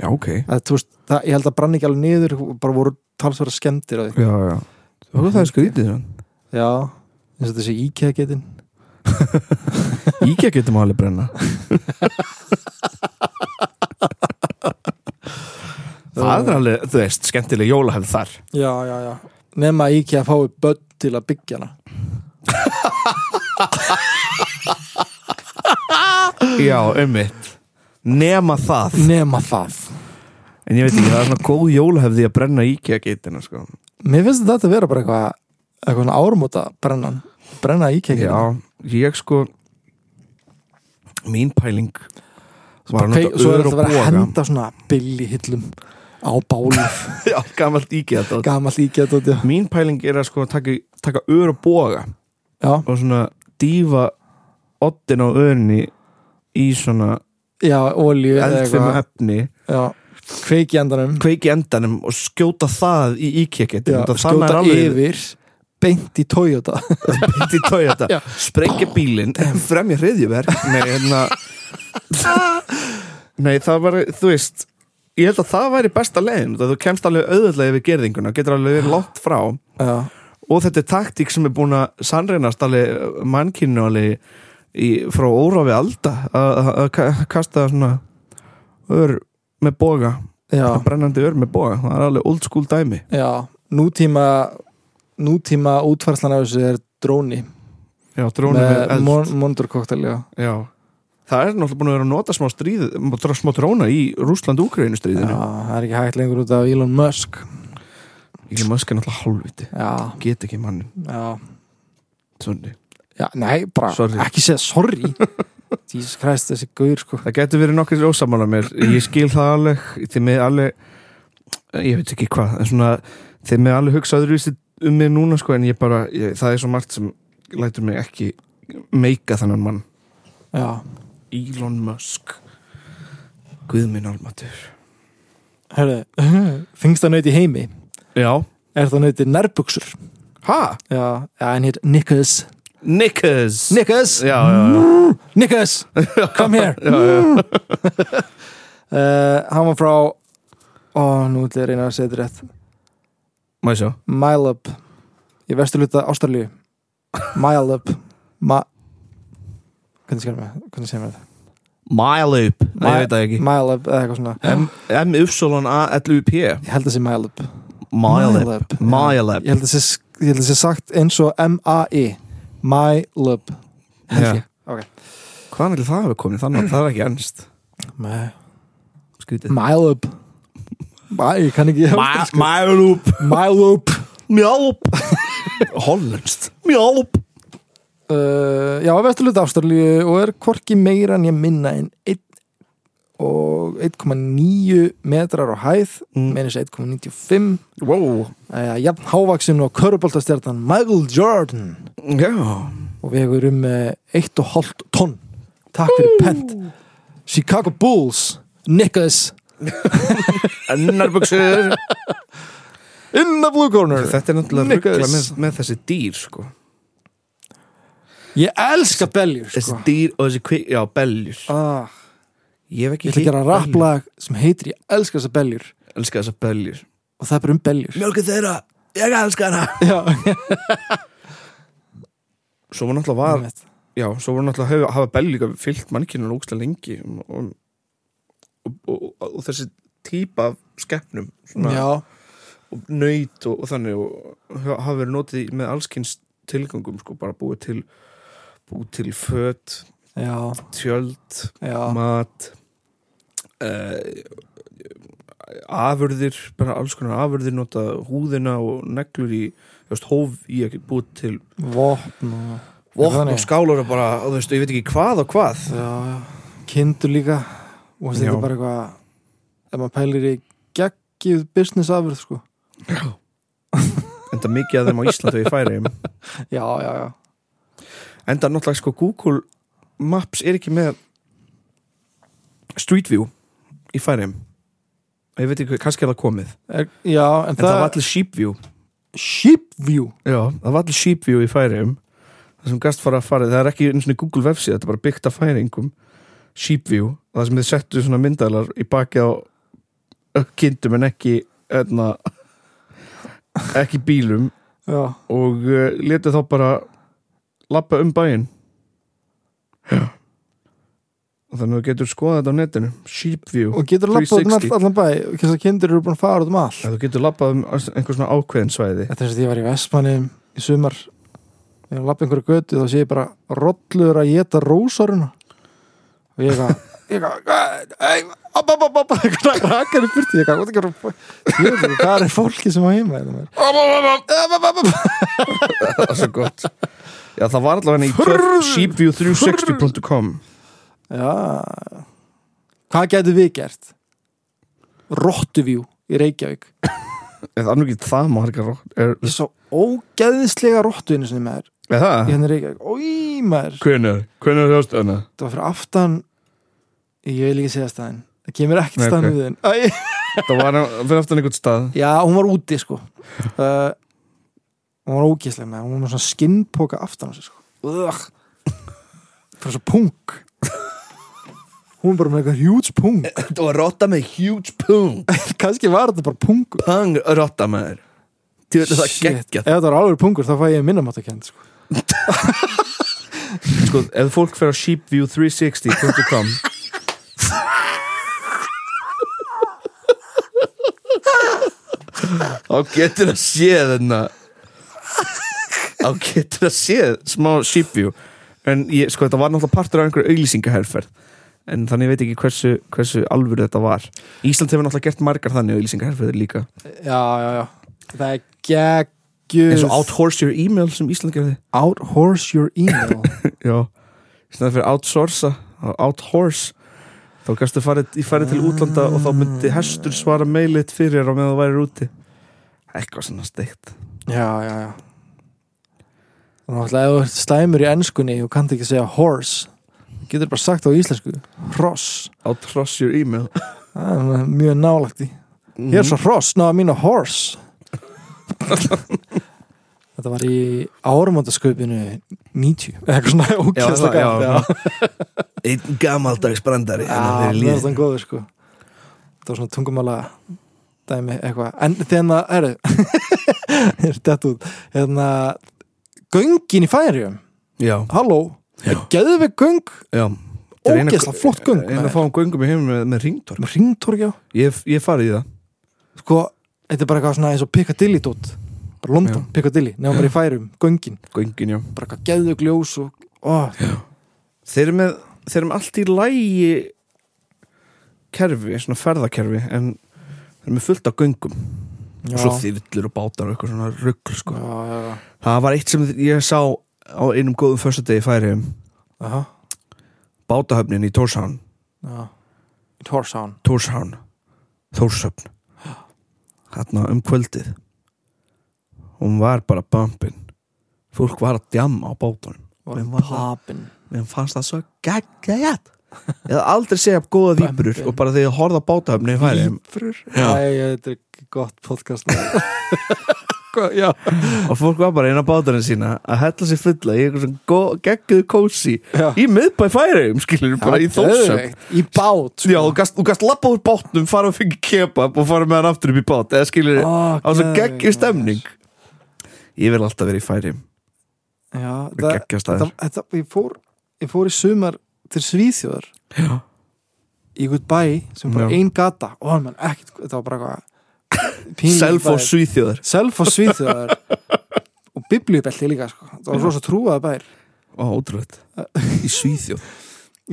Já, ok að, þú veist, það Ég held að brann ekki alveg niður og bara voru talsvara skemmtir á því Já, já Þú það er skrítið hann Já, eins og þessi IKEA getin Íkja getum alveg brenna Það er alveg, þú veist, skemmtileg jólahefð þar Já, já, já Nefna að IKEA fái börn til að byggja hana Já, ummitt Nema það Nefna það En ég veit ekki, það er svona góð jólahefði að brenna íkja geitina sko. Mér finnst þetta að vera bara eitthvað eitthvað ármóta brennan brenna íkengið Já, ég sko mín pæling var að nota Svo er ör þetta og að vera að boga. henda svona billi hillum á [LAUGHS] bálið [LAUGHS] Já, gamalt íkja þetta gamall íkja tóti Mín pæling er að sko taka, taka ör og boga Já, og svona dýfa oddin á örni í svona já, olju eða eldfim eitthvað efni Já, kveiki endanum kveiki endanum og skjóta það í já, íkja geitina skjóta yfir beint í Toyota [LAUGHS] beint í Toyota Já. sprengja bílinn, fremja hriðjuverk nei, [LAUGHS] hérna nei, það var, þú veist ég held að það væri besta leiðin það þú kemst alveg auðvöldlega yfir gerðinguna getur alveg verið langt frá og Já, þetta er taktík sem er búin að sannreinast alveg mannkinnu alveg í, frá óráfi alda að- að að ka- kasta svona ör með boga já, brennandi ör með boga, það er alveg old school dæmi já Nútíma nútíma útfarslan af þessu er dróni já, drónum með eld mon mondurkoktel, já Já Það er náttúrulega búin að vera að nota smá stríð dra- smá dróna í Rúsland-Úkraínu Já, stríðinu það er ekki hægt lengur út af Elon Musk Ég maður er náttúrulega hálfviti Já, Get ekki mannin já Svonni. Já, nei, bara Sorry. ekki segja sorry [LAUGHS] Jesus Christ, þessi gaur sko Það getur verið nokkur ósamála mér Ég skil það alveg Þið með alveg Ég veit ekki hvað en svona, Þið með alveg hugsa öðruvísi um mig núna sko, En ég bara ég, Það er svo margt sem lætur mig ekki meika þannan mann Já, Elon Musk Guðminn Almatur [LAUGHS] herðu Þingsta nöyti heimi Já Er það nöyti nærbuksur Ha? Já, já en hér Nikkas Nickers Nikkas, Já, já, já Nikkas [LAUGHS] Come here Já, já. [LAUGHS] uh, Hann var frá Ó, nú ætla ég að reyna að segja þetta rétt Má ég sjá Mileb Í vesturluta Ástralíu Mileb Ma Hvernig skilur maður? Hvernig segir maður það? Mile up, Nei, ég veit það ekki Mile up, eða eitthvað svona M-Y-A-L-U-P Ég held að sé mile up Mile up Mile up Ég held að sé, ég held að sé sagt eins og M-A-I Mile up Held Já. ég. Ok. Hvaðan vil það hafa komið þannig? Það er ekki ennst Nei. Skrítið Mile up Mæ, ég kann ekki Ma- Mile up Mile up Mjál [LAUGHS] up Hollenskt Mjál up uh, Já, vesturlut Ástralíu og er hvorki meira en ég minna en 1 og 1,9 metrar á hæð mm. meðins 1,95 Wow uh, jafn hávaksinn og köruboltastjartan Michael Jordan Já og vegur um uh, 1,5 tonn Takk fyrir pent Chicago Bulls Nicholas Ennarbuxur in the blue corner Þetta er náttúrulega Nikkas. ruggla með, með þessi dýr sko. Ég elska beljur Þessi sko. dýr og þessi kvik Já, beljur ah, Ég hef ekki Ég ætla að gera hitt beljur. rapplag sem heitir Ég elska þessa beljur Elska þessa beljur og það er bara um beljur Mjölkið þeirra Ég elska hana Já, Svo var [LAUGHS] náttúrulega var Já, svo voru náttúrulega að hafa, hafa belgjur fyllt mannkinu lókslega lengi og, og, og, og, og þessi típa af skepnum svona, Já, og nöyt og, og þannig og ha- hafa verið notið í- með allskins tilgangum sko, bara búið til búið til föt, já, tjöld já mat uh, afurðir bara alls konar afurðir nota húðina og neglur í þú veist, hóf í að búið til Vopn og vopn þannig? og skálar og bara, þú veist, ég veit ekki hvað og hvað já, já. Kindur líka Og veist, þetta Já. er bara eitthvað Ef maður pælir í geggið business afurð sko. enda mikið af þeim á Íslandu í færiðum Já, já, já enda náttúrulega sko Google Maps er ekki með Street View í færiðum ég veit ekki, kannski er það komið en er, Já, en, það, var allir Sheep View Sheep view já, það var allir Sheep View í færiðum það sem gast fara að fara, það er ekki einu svona Google vefsíð, þetta er bara byggt af færingum Sheep View, það sem þið settu svona myndalar í baki á kindum en ekki eðna, ekki bílum Já, og uh, letið þá bara lappa um bæinn Já. og þannig að þú getur skoðað þetta á netinu sheep view og getur lappað um 360. all, allan bæ og Kynst að kindur eru búin að fara út um all að þú getur lappað um einhver svona ákveðin [LAUGHS] svæði Þetta er þess að ég var í Vestmanni í sumar Ég var að lappa einhverju götu þá sé ég bara rollur að geta rósaruna og ég eitthvað ég eitthvað "Æ, app, app, [LAUGHS] app, app," eitthvað rakar í burti ég eitthvað "What the fuck?" Ég veit ekki hvað er fólki sem á heima hérna maður. App, app, app, app. það er svo gott já það var allavega í 12 sheepview360.com Já Hvað getur við gert? Rottuvíu í Reykjavík eða annur ekki það margar rott- er, Ég svo ógeðislega rottu einu sinni maður er í það? henni Reykjavík Ói maður hvenær? hvenær er þjóðstöðna? það var fyrir aftan ég vil ekki segja staðin það kemur ekkert Nei, staðin ok. við þinn Æ, það var fyrir aftan einhvern stað já, hún var úti sko uh, hún var ógæslega með hún var með svona skinnpoka aftan á sig sko Ugh. fyrir svo punk hún var bara með eitthvað huge punk þetta var rotta með huge pung kannski var þetta bara punkur pung rotta með þér þetta Shit. ef þetta var alveg punkur þá fæ ég minnamáttakend sko. sko, ef fólk fer á sheepview360.com þá getur það séð þarna þá getur það séð smá sheepview en ég, sko, þetta var náttúrulega partur af einhverju auglýsingaherferð en þannig ég veit ekki hversu, hversu alvöru þetta var Ísland hefur náttúrulega gert margar þannig auglýsingaherferðir líka já, já, já það er geggjuð eins og outhorse your email sem Ísland gerði outhorse your email Já, í snæði fyrir outsourca outhorse þá kannstu farið, ég farið til útlanda og þá myndi hestur svara meilit fyrir þér á meðan þú værir úti eitthvað svona steikt Já, já, já Og náttúrulega ef þú ert slæmur í ennskunni og kannt ekki segja horse þú getur bara sagt það á íslensku hross, outhorse your email það er svona mjög nálagt í Ég er svo Mhm. hross, ná að mína [LAUGHS] horse Þetta var í áramótasköpinu 90, eða eitthvað svona Já, ókjæsla það- já, [LAUGHS] einn gamaldags brandari Já, það var þann góður sko Það var svona tungumála dæmi eitthvað En þeirna, herru [LAUGHS] Þetta er dett út Hérna, göngin í færiðum já, Halló, Já. geðu við göng já Þetta er eina- ógeðslega flott göng Einn að fá um göngum í heimum með, með ringtorg ringtorgjá ég, ég farið í það sko, þetta er bara eitthvað svona eins og Piccadilly dot bara London, Piccadilly, nefnum bara í færum göngin, Göngin, já bara eitthvað geðug ljós og, ó, Þeir eru með, þeir eru með allt í lægi kerfi, svona ferðakerfi en þeir eru með fullt af göngum já, og svo þyrlur og bátar og eitthvað svona rugl sko. já, já, já, Það var eitt sem ég sá á einum góðum föstudegi í færiðum aha, bátahöfnin í Tórshavn já Torsown, Tórshavn, Þórshöfn hérna um kvöldið hún var bara bumpin fólk var að djamma á bátunum Mér var var það- papin mér fannst það svo geggjætt ég hafði aldrei segja góða víbrur Bumpin. og bara þegar ég horfði á bátahöfni í færiðum Íbrur, Já. já, þetta er ekki gott podcast [LAUGHS] Hvað, já og fólk var bara inn á bátunum sína að hella sér fulla í einhver svona gegguðu kósi Já. í miðbæ færiðum skilur bara í Þórshöfn Geðveikt. Í bát Já, þú gast, þú gast lappa úr bátnum, fara og fengi kebab og fara með hann aftur upp í bát eða skilur Ó, á svo geðveikt, geggjur maður. stemning Ég vil alltaf verið í færi Já, það, Geggjur þetta, staðir þetta, ég fór ég fór í sumar til Svíþjóðar Já. í einhvern bæ sem bara Já. ein gata og hann menn ekkert, þetta var bara eitthvað Self og Svíþjóðar Self og Svíþjóðar og bibliubelti líka sko. það var Já. rosa trúaða bær Ó, [LAUGHS] ótrúlegt Í Svíþjóð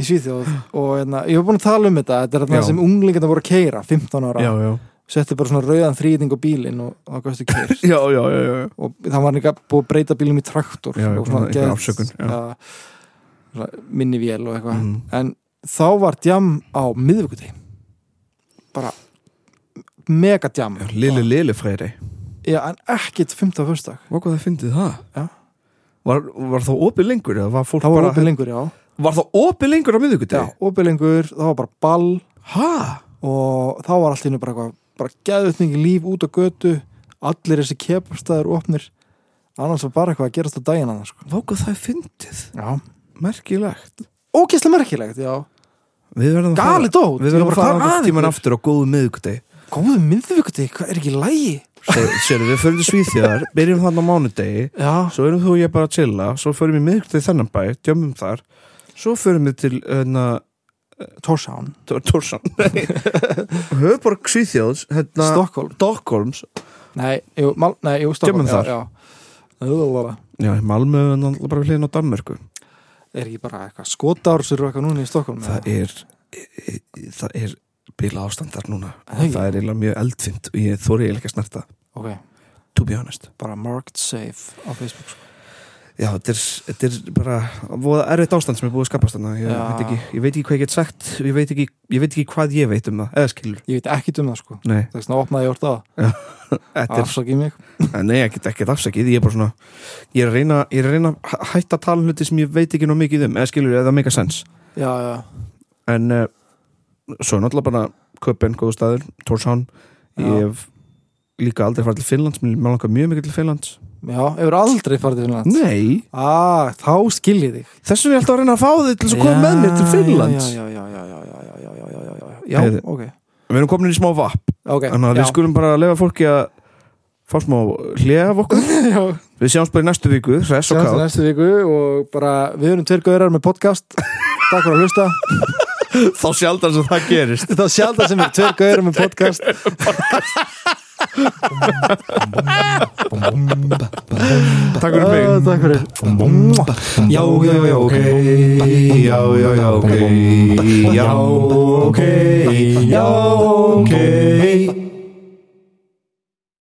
í Svíþjóð og hérna, ég var búin að tala um þetta þetta er Já. það sem unglingarna voru að keira 15 ára, já setti bara svona rauðan þrýting á bílinn og það gæstu keir Já, já, já, já. og það var líka búið að breyta bílum í traktor Já, og einhver- einhver geðs- afsökun, já. ja, svona minni vél og eitthvað Mhm. en þá var djam á miðvikudegi bara mega djam já Lili, lili færi já, en ekkit 15. fyrstag Var hvað það fyndið það? Já. Var, var það opið lengur eða var fólk það var bara opið lengur, já, Var það opið lengur á já miðvikudegi? opið lengur, það var bara ball Ha? og þá var allt í hennu bara eitthvað bara geðutningi líf út á götu allir þessi kepastæður opnir annars var bara eitthvað að gerast á daginn annars sko. Var hvað það er fyndið? já, Merkilegt ógeðslega merkilegt, já Við verðum að Galið dót. Við verðum Ég að bara, hvað fara að tíman ykkur? aftur á góðu miðvikudegi góðu miðvikudegi, hvað er ekki lægi [LAUGHS] Sér, við förum til Svíþjóðar, byrjum þannig á mánudegi já, svo erum þú og ég bara að chilla svo förum við miðvikudegi í þennan bæ, djömmum þar svo förum við til hérna, Torshavn, [LAUGHS] Tórsson höfborg Svíþjóðs hérna, Stokkólm Stokkólms Nei, jú, mal, nei, jú, Stokkólm Kemum þar. já, já. Öðvöldara. já, Malmö er náttúrulega bara við hliðin á Danmörku Er ekki bara eitthvað skotársur og eitthvað núna í Stokkólm það er e- e- það er bila ástand þar núna Hei. það er eiginlega mjög eldfint og ég þóri eiginlega ekki að snerta Ok, to be honest bara marked safe á Facebook sko. já, þetta er, þetta er bara voða erfitt ástand sem er búið að skapast þarna ég, Já. veit ekki, ég veit ekki hvað ég get sagt ég veit ekki, ég veit ekki hvað ég veit um það eða skilur Ég veit ekki um það sko Nei, Þess vegna opnaði ég orta það, þetta er afsakið mig Nei, ég get ekki afsakið, ég er bara svona Ég er að reyna, ég er að, reyna að hætta að tala um hluti sem ég veit ekki nóg mikið um, eða skilur eða make a sense Já, já, En uh, svo er náttúrulega bara Köpen, góðu staður, Tórshavn Ég Já. hef líka aldrei farið til Finnlands Mér mér langar mjög mikið til Finnlands já, hefur aldrei farið til Finnlands Nei, Ah, þá skil ég þig þess vegna er ég alltaf að reyna að fá þig til þess að koma Já, með mér til Finnlands Já, já, já, já, já, já, já, já, já, já, já, já, Heyrðu. ok Við erum komin í smá vapp Ok, Þannig að já, við skulum bara lefa fólki að fá smá hlega af okkur [LAUGHS] já, Við sjáumst bara í næstu viku, hress og sjáumst í kátt næstu viku og bara við erum tveir gaurar með podcast [LAUGHS] Takk fyrir að hlusta Þá sjaldan sem það [LAUGHS] gerist Þetta er sjaldan sem er tveir gaurar með podcast Takk fyrir mig Ah, Takk fyrir Já, já, já, ok Já, já, já, ok Já, ok Já, ok